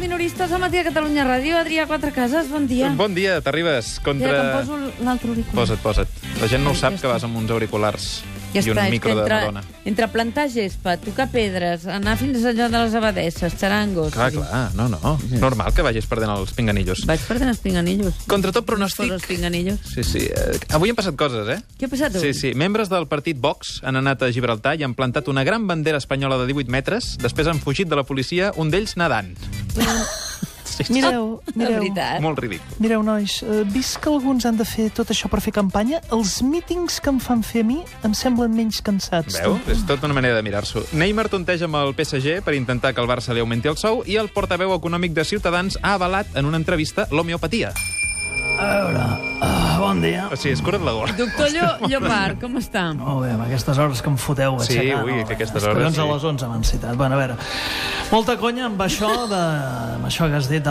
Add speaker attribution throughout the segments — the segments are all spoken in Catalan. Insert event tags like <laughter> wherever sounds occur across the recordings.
Speaker 1: minoristes al matí de Catalunya Ràdio. Adrià Quatre Cases, bon dia.
Speaker 2: Bon dia, t'arribes
Speaker 1: Espera, que em
Speaker 2: contra...
Speaker 1: poso l'altre auricular.
Speaker 2: Posa't, posa't. La gent no ho
Speaker 1: Ja
Speaker 2: sap, que
Speaker 1: està.
Speaker 2: vas amb uns auriculars
Speaker 1: Ja
Speaker 2: i un
Speaker 1: està, és
Speaker 2: micro
Speaker 1: que
Speaker 2: de
Speaker 1: entre,
Speaker 2: Madonna.
Speaker 1: entre plantar gespa, tocar pedres, anar fins allò de les abadesses, xarangos...
Speaker 2: Clar,
Speaker 1: sí.
Speaker 2: clar, no, no. Normal que vagis perdent els pinganillos.
Speaker 1: Vaig perdent els pinganillos.
Speaker 2: Contra tot
Speaker 1: Fora els
Speaker 2: pronòstic...
Speaker 1: pinganillos.
Speaker 2: Sí, sí. eh, Avui han passat coses, eh?
Speaker 1: Què ha passat avui?
Speaker 2: Sí, sí. Membres del partit Vox han anat a Gibraltar i han plantat una gran bandera espanyola de 18 metres. Després han fugit de la policia, un d'ells nadant. Sí, sí.
Speaker 3: Mireu,
Speaker 1: De
Speaker 3: mireu.
Speaker 1: Oh, veritat.
Speaker 2: Molt ridícul.
Speaker 3: Mireu, nois, eh, vist que alguns han de fer tot això per fer campanya, els mítings que em fan fer a mi em semblen menys cansats.
Speaker 2: Veu? És tota una manera de mirar-s'ho. Neymar tonteja amb el PSG per intentar que el Barça li augmenti el sou i el portaveu econòmic de Ciutadans ha avalat en una entrevista l'homeopatia.
Speaker 4: A veure, uh, bon dia.
Speaker 2: O sigui, es cura't la gola.
Speaker 1: Doctor Llo, Llopart, com està?
Speaker 4: Molt bé, amb aquestes hores que em foteu
Speaker 2: Sí,
Speaker 4: aixecant.
Speaker 2: ui,
Speaker 4: home,
Speaker 2: que aquestes
Speaker 4: els
Speaker 2: hores,
Speaker 4: collons
Speaker 2: sí.
Speaker 4: a les 11 m'han citat. Bueno, a veure, molta conya amb això, de, amb això que has dit de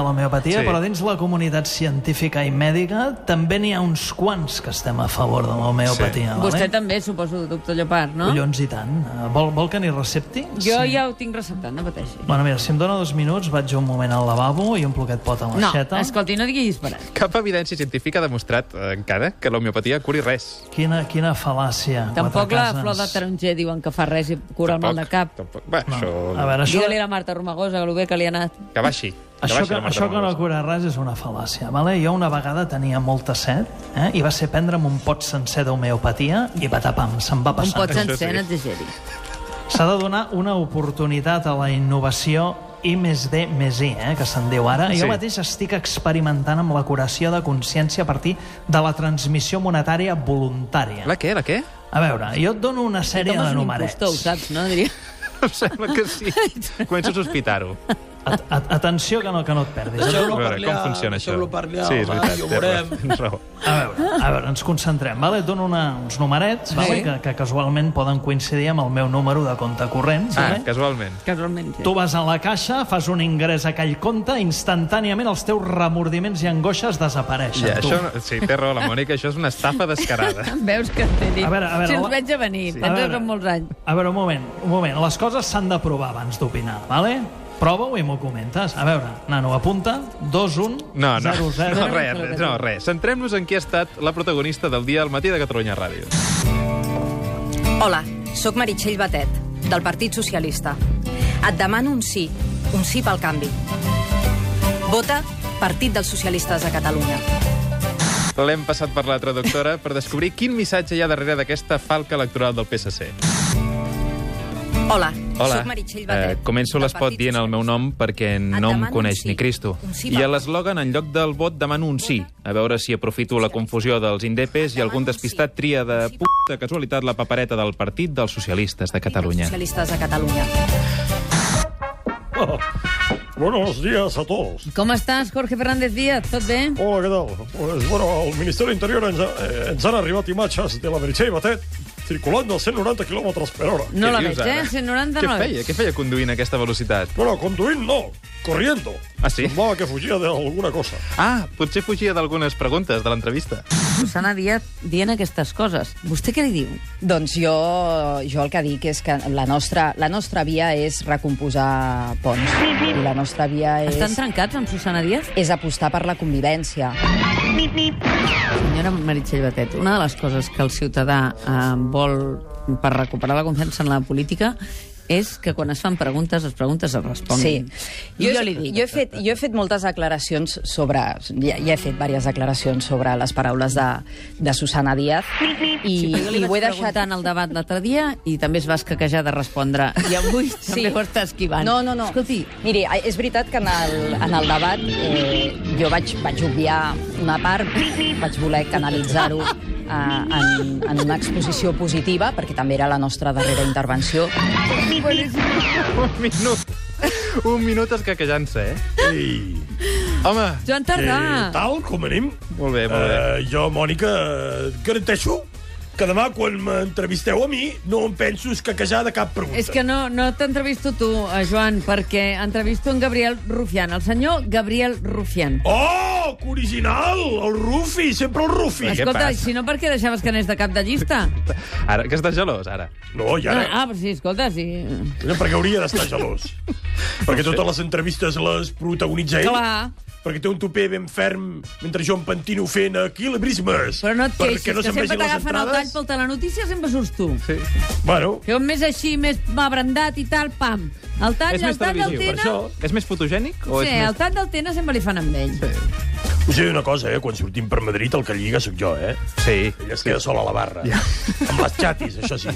Speaker 2: Sí.
Speaker 4: l'homeopatia, sí. però dins la comunitat científica i mèdica també n'hi ha uns quants que estem a favor de l'homeopatia. vale?
Speaker 1: Vostè també, suposo, doctor Llopart, no?
Speaker 4: Collons i tant. Eh, Vol, vol que n'hi recepti?
Speaker 1: Jo ja ho tinc receptat, no pateixi.
Speaker 4: Bueno, mira, si em dóna dos minuts, vaig un moment al lavabo i un que et pot a
Speaker 1: No,
Speaker 4: l'aixeta.
Speaker 1: escolti, no digui disparat.
Speaker 2: Cap evidència científica ha demostrat eh, encara que l'homeopatia curi res.
Speaker 4: Quina, quina fal·làcia.
Speaker 1: Tampoc
Speaker 4: quatre
Speaker 1: la
Speaker 4: cases.
Speaker 1: flor de taronger diuen que fa res i cura el mal de cap.
Speaker 2: Tampoc. Va, no.
Speaker 4: A
Speaker 2: això...
Speaker 4: veure, això...
Speaker 1: Digue-li a la Marta Romagosa, que el bé que li ha anat.
Speaker 2: Que baixi. Que
Speaker 4: Això
Speaker 2: baixi
Speaker 4: que,
Speaker 2: la Marta
Speaker 4: això que no
Speaker 2: Ramos.
Speaker 4: cura res és una fal·làcia, vale? Jo una vegada tenia molta set eh? i va ser prendre'm un pot sencer d'homeopatia i patapam, se'm va
Speaker 1: Un
Speaker 4: passar.
Speaker 1: pot sencer,
Speaker 2: sí.
Speaker 1: no exageri.
Speaker 4: S'ha de donar una oportunitat a la innovació i més D més I, eh, que se'n diu ara.
Speaker 2: Sí.
Speaker 4: Jo mateix estic experimentant amb la curació de consciència a partir de la transmissió monetària voluntària.
Speaker 2: La què, la què?
Speaker 4: A veure, jo et dono una sèrie
Speaker 1: Tothom
Speaker 4: de
Speaker 1: és un
Speaker 4: numerets.
Speaker 1: impostor, ho saps, no? Diria.
Speaker 2: Em sembla
Speaker 1: <laughs>
Speaker 2: que sí. Començo a sospitar-ho.
Speaker 4: At -at Atenció que no, que no et perdis. Et
Speaker 2: A veure, com funciona això? sí, és veritat. té raó, tens raó.
Speaker 4: A veure, a veure ens concentrem. Vale? Et dono una, uns numerets vale? que, que casualment poden coincidir amb el meu número de compte corrent.
Speaker 2: Ah,
Speaker 4: vale?
Speaker 2: casualment.
Speaker 1: Casualment. sí.
Speaker 4: Tu vas a la caixa, fas un ingrés a aquell compte, instantàniament els teus remordiments i angoixes desapareixen.
Speaker 2: Ja,
Speaker 4: tu.
Speaker 2: això, no- sí, té raó la Mònica, això és una estafa descarada.
Speaker 1: Veus que t'he dit.
Speaker 4: A veure, a veure,
Speaker 1: si
Speaker 4: la-
Speaker 1: els veig a venir, sí.
Speaker 4: Sí.
Speaker 1: pensa
Speaker 4: A veure.
Speaker 1: que molts anys.
Speaker 4: A veure, un moment, un moment. Les coses s'han de provar abans d'opinar, vale? Prova-ho i m'ho comentes. A veure, nano, apunta. 2, 1,
Speaker 2: No, no,
Speaker 4: 0, 0.
Speaker 2: no, res, res, no, res. Centrem-nos en qui ha estat la protagonista del dia al matí de Catalunya Ràdio.
Speaker 5: Hola, sóc Meritxell Batet, del Partit Socialista. Et demano un sí, un sí pel canvi. Vota Partit dels Socialistes de Catalunya.
Speaker 2: L'hem passat per la traductora per descobrir quin missatge hi ha darrere d'aquesta falca electoral del PSC.
Speaker 5: Hola,
Speaker 2: Hola,
Speaker 5: sóc Meritxell Batet.
Speaker 2: Eh, començo
Speaker 5: del
Speaker 2: l'espot
Speaker 5: Partit
Speaker 2: dient el meu nom perquè no em
Speaker 5: demano
Speaker 2: coneix
Speaker 5: un sí.
Speaker 2: ni Cristo.
Speaker 5: Un sí,
Speaker 2: I a
Speaker 5: va.
Speaker 2: l'eslògan, en lloc del vot, demano un sí. A veure si aprofito la confusió dels indepes i algun despistat tria de puta casualitat la papereta del Partit dels Socialistes de Catalunya.
Speaker 5: Socialistes de Catalunya.
Speaker 6: Oh. Buenos días a todos.
Speaker 1: Com estàs, Jorge Fernández Díaz? Tot bé?
Speaker 6: Hola, què tal? Pues, bueno, al Ministeri de Interior ens, eh, ens han arribat imatges de la Meritxell Batet circulant a 190 km per hora.
Speaker 1: No
Speaker 2: Què
Speaker 1: la
Speaker 2: dius,
Speaker 1: veig,
Speaker 2: ara?
Speaker 1: eh? 190
Speaker 2: Què
Speaker 1: no la veig.
Speaker 2: feia? Què feia conduint a aquesta velocitat?
Speaker 6: Bueno, conduint no, corriendo.
Speaker 2: Ah, sí?
Speaker 6: Semblava que fugia d'alguna cosa.
Speaker 2: Ah, potser fugia d'algunes preguntes de l'entrevista. <laughs>
Speaker 1: Susana Díaz dient aquestes coses. Vostè què li diu?
Speaker 7: Doncs jo, jo el que dic és que la nostra, la nostra via és recomposar ponts. I la nostra via
Speaker 1: Estan
Speaker 7: és,
Speaker 1: trencats amb Susana Díaz?
Speaker 7: és apostar per la convivència.
Speaker 1: Senyora Meritxell Batet, una de les coses que el ciutadà eh, vol per recuperar la confiança en la política és que quan es fan preguntes, les preguntes es responguin. I jo, jo li dic...
Speaker 7: Jo he, fet, jo he fet moltes declaracions sobre... Ja, ja he fet diverses declaracions sobre les paraules de, de Susana Díaz. I,
Speaker 1: I, jo li
Speaker 7: i ho he
Speaker 1: vaig
Speaker 7: deixat...
Speaker 1: preguntar en el debat l'altre dia i també es va escaquejar de respondre. I <laughs> avui sí. també ho està esquivant.
Speaker 7: No, no, no.
Speaker 1: Escolti,
Speaker 7: Miri, és veritat que en el, en el debat eh, jo vaig, vaig obviar una part, vaig voler canalitzar-ho eh, en, en una exposició positiva, perquè també era la nostra darrera intervenció.
Speaker 2: Un minut. Un minut escaquejant-se, eh?
Speaker 6: I...
Speaker 2: Home,
Speaker 1: Joan Tardà!
Speaker 6: Tal, com anem?
Speaker 2: Molt bé, molt bé.
Speaker 6: Eh, jo, Mònica, eh, garanteixo que demà, quan m'entrevisteu a mi, no em penso escaquejar de cap pregunta.
Speaker 1: És que no, no t'entrevisto tu, eh, Joan, perquè entrevisto en Gabriel Rufián, el senyor Gabriel Rufián.
Speaker 6: Oh, que original! El Rufi, sempre el Rufi.
Speaker 2: Què
Speaker 1: Escolta,
Speaker 2: passa?
Speaker 1: si no, per què deixaves que anés de cap de llista?
Speaker 2: Ara, que estàs gelós, ara.
Speaker 6: No, i ara...
Speaker 1: Ah, però sí, escolta, sí.
Speaker 6: No, perquè hauria d'estar
Speaker 1: <laughs>
Speaker 6: gelós. perquè totes les entrevistes les protagonitza ell.
Speaker 1: Clar.
Speaker 6: Perquè té un topé ben ferm mentre jo em pentino fent aquí l'ebrismes.
Speaker 1: Però no et queixis,
Speaker 6: Perquè no
Speaker 1: que
Speaker 6: se'm
Speaker 1: sempre
Speaker 6: vegin les
Speaker 1: t'agafen el tall
Speaker 6: entrades.
Speaker 1: pel telenotícia, sempre surts tu.
Speaker 2: Sí.
Speaker 6: Bueno,
Speaker 1: Que un més així, més abrandat i tal, pam. El tall,
Speaker 2: És més
Speaker 1: el tall del
Speaker 2: televisiu, per
Speaker 1: Tena...
Speaker 2: això. És més fotogènic? O
Speaker 1: Sí,
Speaker 2: és
Speaker 1: el
Speaker 2: més...
Speaker 1: tall del Tena sempre li fan amb ell.
Speaker 6: us he de dir una cosa, eh? Quan sortim per Madrid, el que lliga sóc jo, eh?
Speaker 2: Sí.
Speaker 6: Ella es queda sola a la barra. Ja. Amb les xatis, això sí.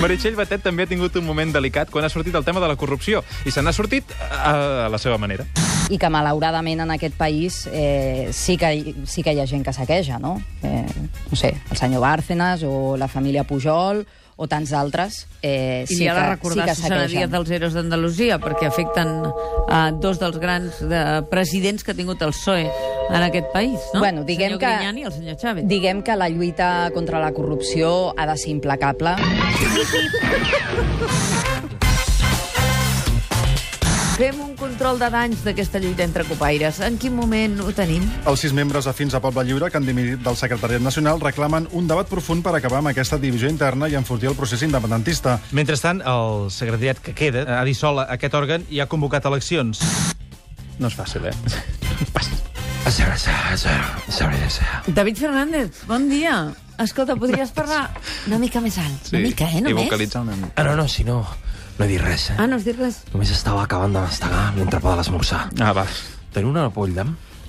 Speaker 2: Meritxell Batet també ha tingut un moment delicat quan ha sortit el tema de la corrupció i se n'ha sortit eh, a, a la seva manera.
Speaker 7: i que malauradament en aquest país eh, sí, que, hi- sí que hi ha gent que saqueja, no? Eh, no sé, el senyor Bárcenas o la família Pujol o tants altres eh,
Speaker 1: I
Speaker 7: sí,
Speaker 1: li ha de
Speaker 7: que, sí
Speaker 1: recordar
Speaker 7: que
Speaker 1: Susana Díaz
Speaker 7: saquegen.
Speaker 1: dels Eros d'Andalusia, perquè afecten a dos dels grans de, presidents que ha tingut el PSOE E en aquest país, no?
Speaker 7: Bueno, diguem
Speaker 1: el senyor
Speaker 7: que-
Speaker 1: Grinyani i el senyor Chávez.
Speaker 7: Diguem que la lluita contra la corrupció ha de ser implacable.
Speaker 1: Fem un control de danys d'aquesta lluita entre copaires. En quin moment ho tenim?
Speaker 8: Els sis membres afins a Poble Lliure que han dimitit del secretariat nacional reclamen un debat profund per acabar amb aquesta divisió interna i enfortir el procés independentista.
Speaker 9: Mentrestant, el secretariat que queda ha dissolt aquest òrgan i ha convocat eleccions.
Speaker 2: No és fàcil, eh?
Speaker 10: Ah,
Speaker 1: David Fernández, bon dia. Escolta, podries parlar una mica més alt. Una mica, eh,
Speaker 2: I
Speaker 1: només?
Speaker 2: vocalitzar una mica.
Speaker 10: Ah, no, no, si no, no he dit res, eh?
Speaker 1: Ah, no has dit res.
Speaker 10: Només estava acabant de mastegar l'entrepà de l'esmorzar.
Speaker 2: Ah, va.
Speaker 10: Teniu una ampolla?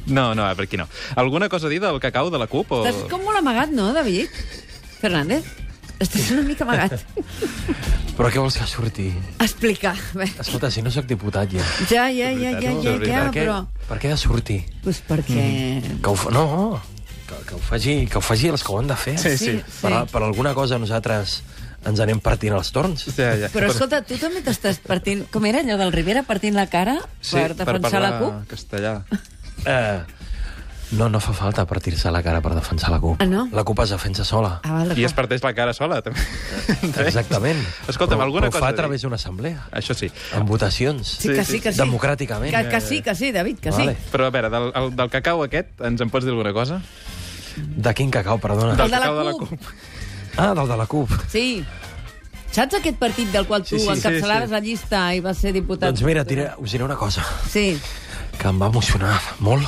Speaker 2: No, no, per aquí no. Alguna cosa a dir del cacau de la CUP? O...
Speaker 1: Estàs com molt amagat, no, David? Fernández? Estàs una mica <laughs> amagat.
Speaker 10: Però què vols que surti?
Speaker 1: Explica. Bé,
Speaker 10: Escolta, si no sóc diputat ja.
Speaker 1: Ja, ja, ja, ja,
Speaker 2: no?
Speaker 1: ja,
Speaker 2: De
Speaker 1: ja,
Speaker 2: veritat,
Speaker 10: per, què,
Speaker 1: però...
Speaker 10: per què ha de sortir?
Speaker 1: Pues perquè...
Speaker 10: Que ho, fa- no, que, que, ho faci, que ho faci els que ho han de fer.
Speaker 1: Sí, sí. sí.
Speaker 10: Per, a- per alguna cosa nosaltres ens anem partint els torns.
Speaker 2: Ja, ja.
Speaker 1: Però escolta, tu també t'estàs partint... Com era allò del Rivera, partint la cara
Speaker 2: Sí,
Speaker 1: per defensar
Speaker 2: per parlar
Speaker 1: la CUP?
Speaker 2: castellà.
Speaker 10: Eh, no, no fa falta partir-se la cara per defensar la
Speaker 1: Ah,
Speaker 10: CUP.
Speaker 1: no?
Speaker 10: La CUP es defensa sola.
Speaker 1: Ah, val,
Speaker 2: I es
Speaker 1: d'acord.
Speaker 2: parteix la cara sola, també.
Speaker 10: Exactament.
Speaker 2: Escolta'm,
Speaker 10: però,
Speaker 2: alguna cosa
Speaker 10: però fa
Speaker 2: a
Speaker 10: a
Speaker 2: dir.
Speaker 10: través d'una assemblea,
Speaker 2: Això sí.
Speaker 10: amb votacions,
Speaker 1: Sí, que sí, que sí.
Speaker 10: democràticament.
Speaker 1: Que, que sí, que sí, David, que sí.
Speaker 10: Vale.
Speaker 2: Però a veure, del, el, del cacau aquest, ens en pots dir alguna cosa?
Speaker 10: De quin cacau, perdona?
Speaker 1: Del de la
Speaker 2: cacau
Speaker 1: CUP.
Speaker 10: Ah, del de la CUP.
Speaker 1: Sí. Saps aquest partit del qual tu
Speaker 2: Sí, sí, sí,
Speaker 1: encapçalaves
Speaker 2: sí.
Speaker 1: la llista i vas ser diputat?
Speaker 10: Doncs mira, tira, us diré una cosa
Speaker 1: Sí.
Speaker 10: que em va emocionar molt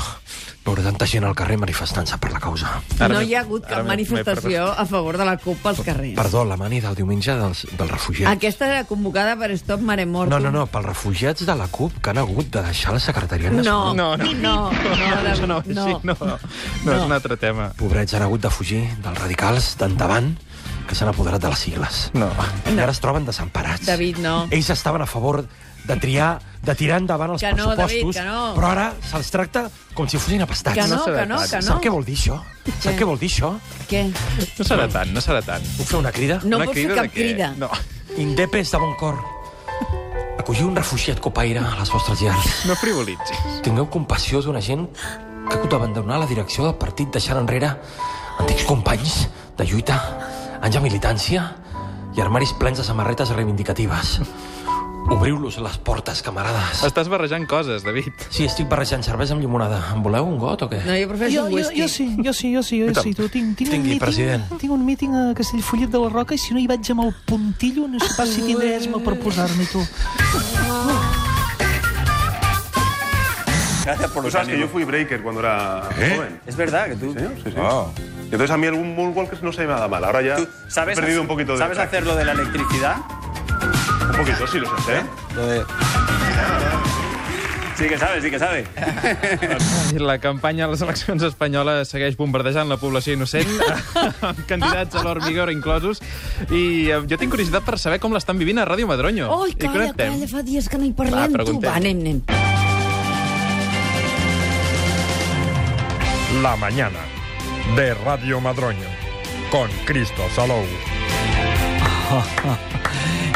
Speaker 10: veure tanta gent al carrer manifestant-se per la causa.
Speaker 2: Ara
Speaker 1: no
Speaker 2: m'he-
Speaker 1: hi ha hagut cap
Speaker 2: ara m'he-
Speaker 1: manifestació a favor de la CUP als carrers.
Speaker 10: Perdó, la mani del diumenge dels, dels refugiats.
Speaker 1: Aquesta era convocada per Stop Mare Mortum.
Speaker 10: No, no, no, pels refugiats de la CUP que han hagut de deixar la secretaria
Speaker 1: No,
Speaker 10: nacional.
Speaker 1: no, no, no,
Speaker 2: Això
Speaker 1: no,
Speaker 2: no, no, no, no, no, és un altre tema.
Speaker 10: Pobrets han hagut de fugir dels radicals d'endavant que s'han apoderat de les sigles.
Speaker 2: No.
Speaker 10: I ara es troben desemparats.
Speaker 1: David, no.
Speaker 10: Ells estaven a favor de triar, de tirar endavant els
Speaker 1: Que no, David,
Speaker 10: pressupostos,
Speaker 1: que no.
Speaker 10: però ara se'ls tracta com si fossin apestats.
Speaker 1: Que no, que no, que no.
Speaker 10: Sap què vol dir això? Sap què vol dir això?
Speaker 1: Què?
Speaker 2: No serà tant, no serà tant.
Speaker 10: Puc fer una crida?
Speaker 1: No
Speaker 2: Una
Speaker 1: puc fer
Speaker 2: crida
Speaker 1: cap
Speaker 2: de què?
Speaker 1: crida.
Speaker 2: No.
Speaker 10: Indepes de bon cor. Acolliu un refugiat copaire a les vostres llars.
Speaker 2: No frivolitzis.
Speaker 10: Tingueu compassió d'una gent que ha hagut d'abandonar la direcció del partit deixant enrere antics companys de lluita, anys de militància i armaris plens de samarretes reivindicatives. Obriu-los les portes, camarades.
Speaker 2: Estàs barrejant coses, David.
Speaker 10: Sí, estic barrejant cervesa amb llimonada. En voleu un got o què?
Speaker 1: No, jo prefereixo
Speaker 4: Jo,
Speaker 1: un
Speaker 4: jo,
Speaker 1: whisky.
Speaker 4: jo sí, jo sí, jo sí, jo sí. Tu, tinc, tinc,
Speaker 10: Tingui,
Speaker 4: un
Speaker 10: president.
Speaker 4: míting, tinc un míting a Castellfollit de la Roca i si no hi vaig amb el puntillo no sé pas si tindré esma per posar-m'hi, tu.
Speaker 11: Gracias por los sabes que yo fui breaker cuando era joven.
Speaker 9: Eh? És verdad que tu...
Speaker 11: Sí, sí, sí. Entonces a mí el moonwalker no se me da mal. Ahora ya he perdido un poquito de... práctica.
Speaker 9: lo de la electricidad?
Speaker 11: Un poquito, sí, lo sé hacer.
Speaker 9: Sí que sabes, sí que sabes.
Speaker 2: I La campanya a les eleccions espanyoles segueix bombardejant la població
Speaker 1: <laughs>
Speaker 2: innocent, amb candidats a l'Hormigor inclosos, i eh, jo tinc curiositat per saber com l'estan vivint a Ràdio Madronyo.
Speaker 1: Ai,
Speaker 2: I
Speaker 1: calla,
Speaker 2: connectem.
Speaker 1: calla, fa dies que no hi parlem, tu.
Speaker 2: preguntem.
Speaker 1: Va, anem, anem.
Speaker 11: La mañana de Radio Madroño con Cristo Salou.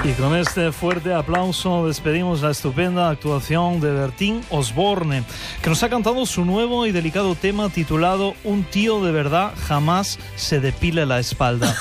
Speaker 4: Y con este fuerte aplauso despedimos la estupenda actuación de Bertín Osborne, que nos ha cantado su nuevo y delicado tema titulado Un tío de verdad jamás se depila la espalda.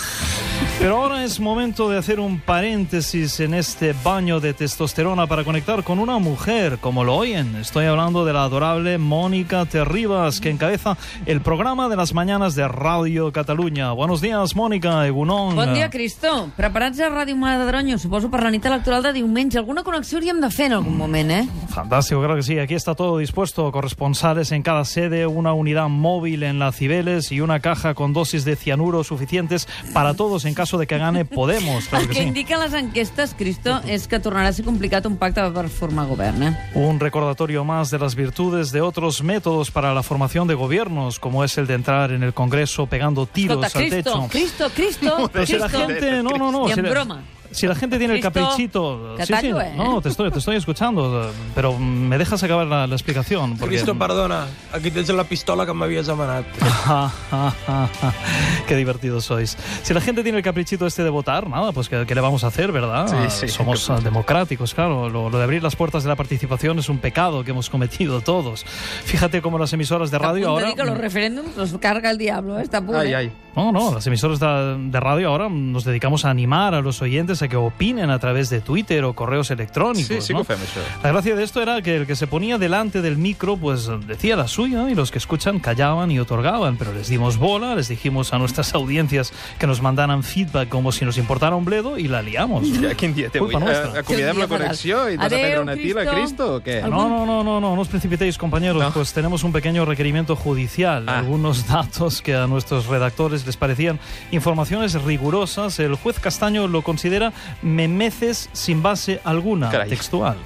Speaker 4: Pero ahora es momento de hacer un paréntesis en este baño de testosterona para conectar con una mujer, como lo oyen. Estoy hablando de la adorable Mónica Terribas, que encabeza el programa de las mañanas de Radio Cataluña. Buenos días, Mónica Egunon.
Speaker 1: Bon dia, Cristó. Preparats a Ràdio Madronyo, suposo per la nit electoral de diumenge. Alguna connexió hauríem de fer en algun moment, eh?
Speaker 4: Fantástico, claro que sí. Aquí está todo dispuesto. Corresponsales en cada sede, una unidad móvil en la Cibeles y una caja con dosis de cianuro suficientes para todos en caso de que gane Podemos. Claro
Speaker 1: El <laughs>
Speaker 4: que
Speaker 1: que
Speaker 4: sí.
Speaker 1: indica les enquestes, Cristo, és que tornarà a ser complicat un pacte per formar govern, eh?
Speaker 4: Un recordatorio más de las virtudes de otros métodos para la formación de gobiernos, como es el de entrar en el Congreso pegando tiros
Speaker 1: Escolta,
Speaker 4: al
Speaker 1: Cristo,
Speaker 4: techo.
Speaker 1: Cristo,
Speaker 4: <laughs>
Speaker 1: Cristo,
Speaker 4: Pero si la
Speaker 1: Cristo.
Speaker 4: gente- no, no, no,
Speaker 1: Ni
Speaker 4: si
Speaker 1: en
Speaker 4: la-
Speaker 1: broma.
Speaker 4: Si la gente tiene el
Speaker 1: Cristo,
Speaker 4: caprichito...
Speaker 1: que
Speaker 4: sí, sí,
Speaker 1: tallo, eh.
Speaker 4: No, te estoy, te estoy escuchando, eh, pero me dejas acabar la, la explicación. Porque...
Speaker 10: Cristo, perdona, aquí tens la pistola que m'havies demanat.
Speaker 4: <laughs> Qué divertidos sois. Si la gente tiene el caprichito este de votar, nada, pues ¿qué, qué le vamos a hacer, verdad?
Speaker 10: Sí,
Speaker 4: Ah,
Speaker 10: sí.
Speaker 4: Somos ah, democráticos, claro. Lo, lo de abrir las puertas de la participación es un pecado que hemos cometido todos. Fíjate cómo las emisoras de radio
Speaker 1: Ahora...
Speaker 4: ahora... mm,
Speaker 1: Dic que los referéndums los carga el diablo, eh? està a punt, eh?
Speaker 4: No, no, las emisoras de, de radio ahora nos dedicamos a animar a los oyentes a que opinen a través de Twitter o correos electrónicos.
Speaker 2: Sí, sí
Speaker 4: ¿no?
Speaker 2: que ho fem, això.
Speaker 4: La gracia de esto era que el que se ponía delante del micro, pues decía la suya y los que escuchan callaban y otorgaban, pero les dimos bola, les dijimos a nuestras audiencias que nos mandaran feedback como si nos importara un bledo y la liamos.
Speaker 2: Ja, quin dia té avui?
Speaker 4: Culpa
Speaker 2: Eh,
Speaker 4: nuestra.
Speaker 2: acomiadem la connexió i t'has de
Speaker 1: Adeu,
Speaker 2: prendre una tila,
Speaker 1: Cristo.
Speaker 2: Cristo, o què?
Speaker 4: No, no, no, no, no, no os precipitéis, compañeros. Pues tenemos un pequeño requerimiento judicial. Algunos <laughs> datos que a nuestros redactores les parecían informaciones rigurosas. El juez Castaño lo considera memeces sin base alguna,
Speaker 2: Caray.
Speaker 4: textual.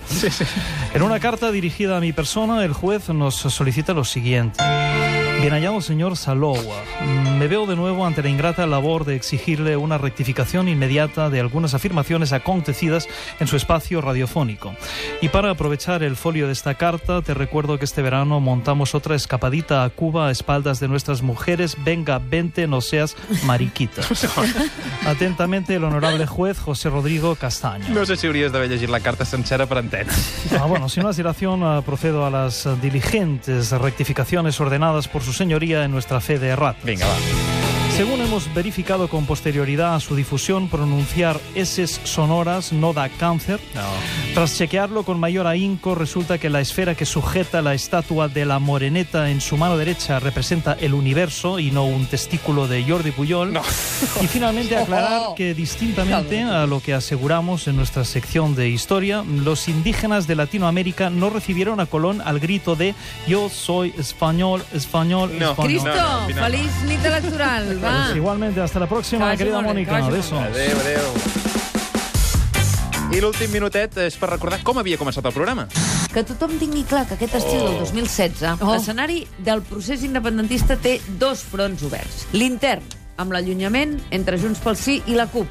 Speaker 4: En una carta dirigida a mi persona, el juez nos solicita lo siguiente. Bien hallado, señor Salowa. Me veo de nuevo ante la ingrata labor de exigirle una rectificación inmediata de algunas afirmaciones acontecidas en su espacio radiofónico. Y para aprovechar el folio de esta carta, te recuerdo que este verano montamos otra escapadita a Cuba a espaldas de nuestras mujeres. Venga, vente, no seas mariquita. Atentamente, el honorable juez José Rodrigo Castaño.
Speaker 2: No sé si hauries d'haver llegit la carta sencera per entendre.
Speaker 4: Ah, bueno, sin más dilación, ah, procedo a las ah, diligentes rectificaciones ordenadas por su señoría en nuestra fe de errat.
Speaker 2: Vinga, va.
Speaker 4: Según hemos verificado con posterioridad a su difusión, pronunciar S sonoras no da cáncer. Tras chequearlo con mayor ahínco, resulta que la esfera que sujeta la estatua de la moreneta en su mano derecha representa el universo y no un testículo de Jordi Puyol. Y finalmente aclarar que distintamente a lo que aseguramos en nuestra sección de historia, los indígenas de Latinoamérica no recibieron a Colón al grito de yo soy español, español, español.
Speaker 1: Cristo, feliç nit electoral, va.
Speaker 4: Pues igualmente, hasta la próxima,
Speaker 1: Caballo
Speaker 4: querida
Speaker 1: Moreno,
Speaker 4: Mónica.
Speaker 1: caballo
Speaker 4: Besos.
Speaker 2: Adéu, adéu. I l'últim minutet és per recordar com havia començat el programa.
Speaker 1: Que tothom tingui clar que aquest estiu
Speaker 2: Oh.
Speaker 1: del 2016,
Speaker 2: Oh.
Speaker 1: l'escenari del procés independentista té dos fronts oberts. L'intern, amb l'allunyament entre Junts pel Sí i la CUP.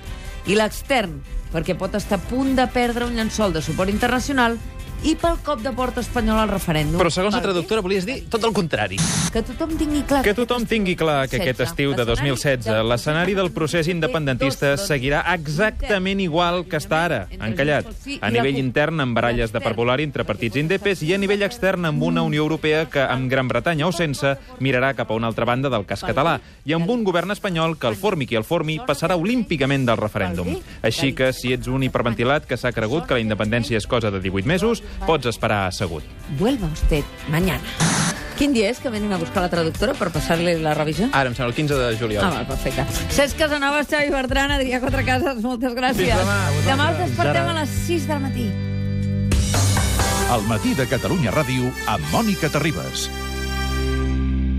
Speaker 1: I l'extern, perquè pot estar a punt de perdre un llençol de suport internacional i pel cop de porta espanyol al referèndum.
Speaker 2: Però segons la
Speaker 1: Pel
Speaker 2: traductora volies dir tot el contrari.
Speaker 1: Que tothom tingui clar
Speaker 2: Que tothom tingui clar que aquest estiu de 2016 l'escenari del procés independentista seguirà exactament igual que està ara, encallat. A nivell intern, amb baralles de parvulari entre partits indepes i a nivell extern amb una Unió Europea que, amb Gran Bretanya o sense, mirarà cap a una altra banda del cas català i amb un govern espanyol que el formi qui el formi passarà olímpicament del referèndum. Així que, si ets un hiperventilat que s'ha cregut que la independència és cosa de 18 mesos, pots esperar assegut.
Speaker 1: Vuelva usted mañana. Quin dia és que venen a buscar la traductora per passar-li la revisió?
Speaker 2: Ara, em sembla, el 15 de juliol.
Speaker 1: Ah, val, perfecte. Cesc Casanova, Xavi Bertran, Adrià Quatrecases, moltes gràcies.
Speaker 12: Fins demà, vosaltres.
Speaker 1: demà us
Speaker 12: Fins
Speaker 1: despertem
Speaker 12: ara.
Speaker 1: a les 6 del matí.
Speaker 12: El matí de Catalunya Ràdio amb Mònica Terribas.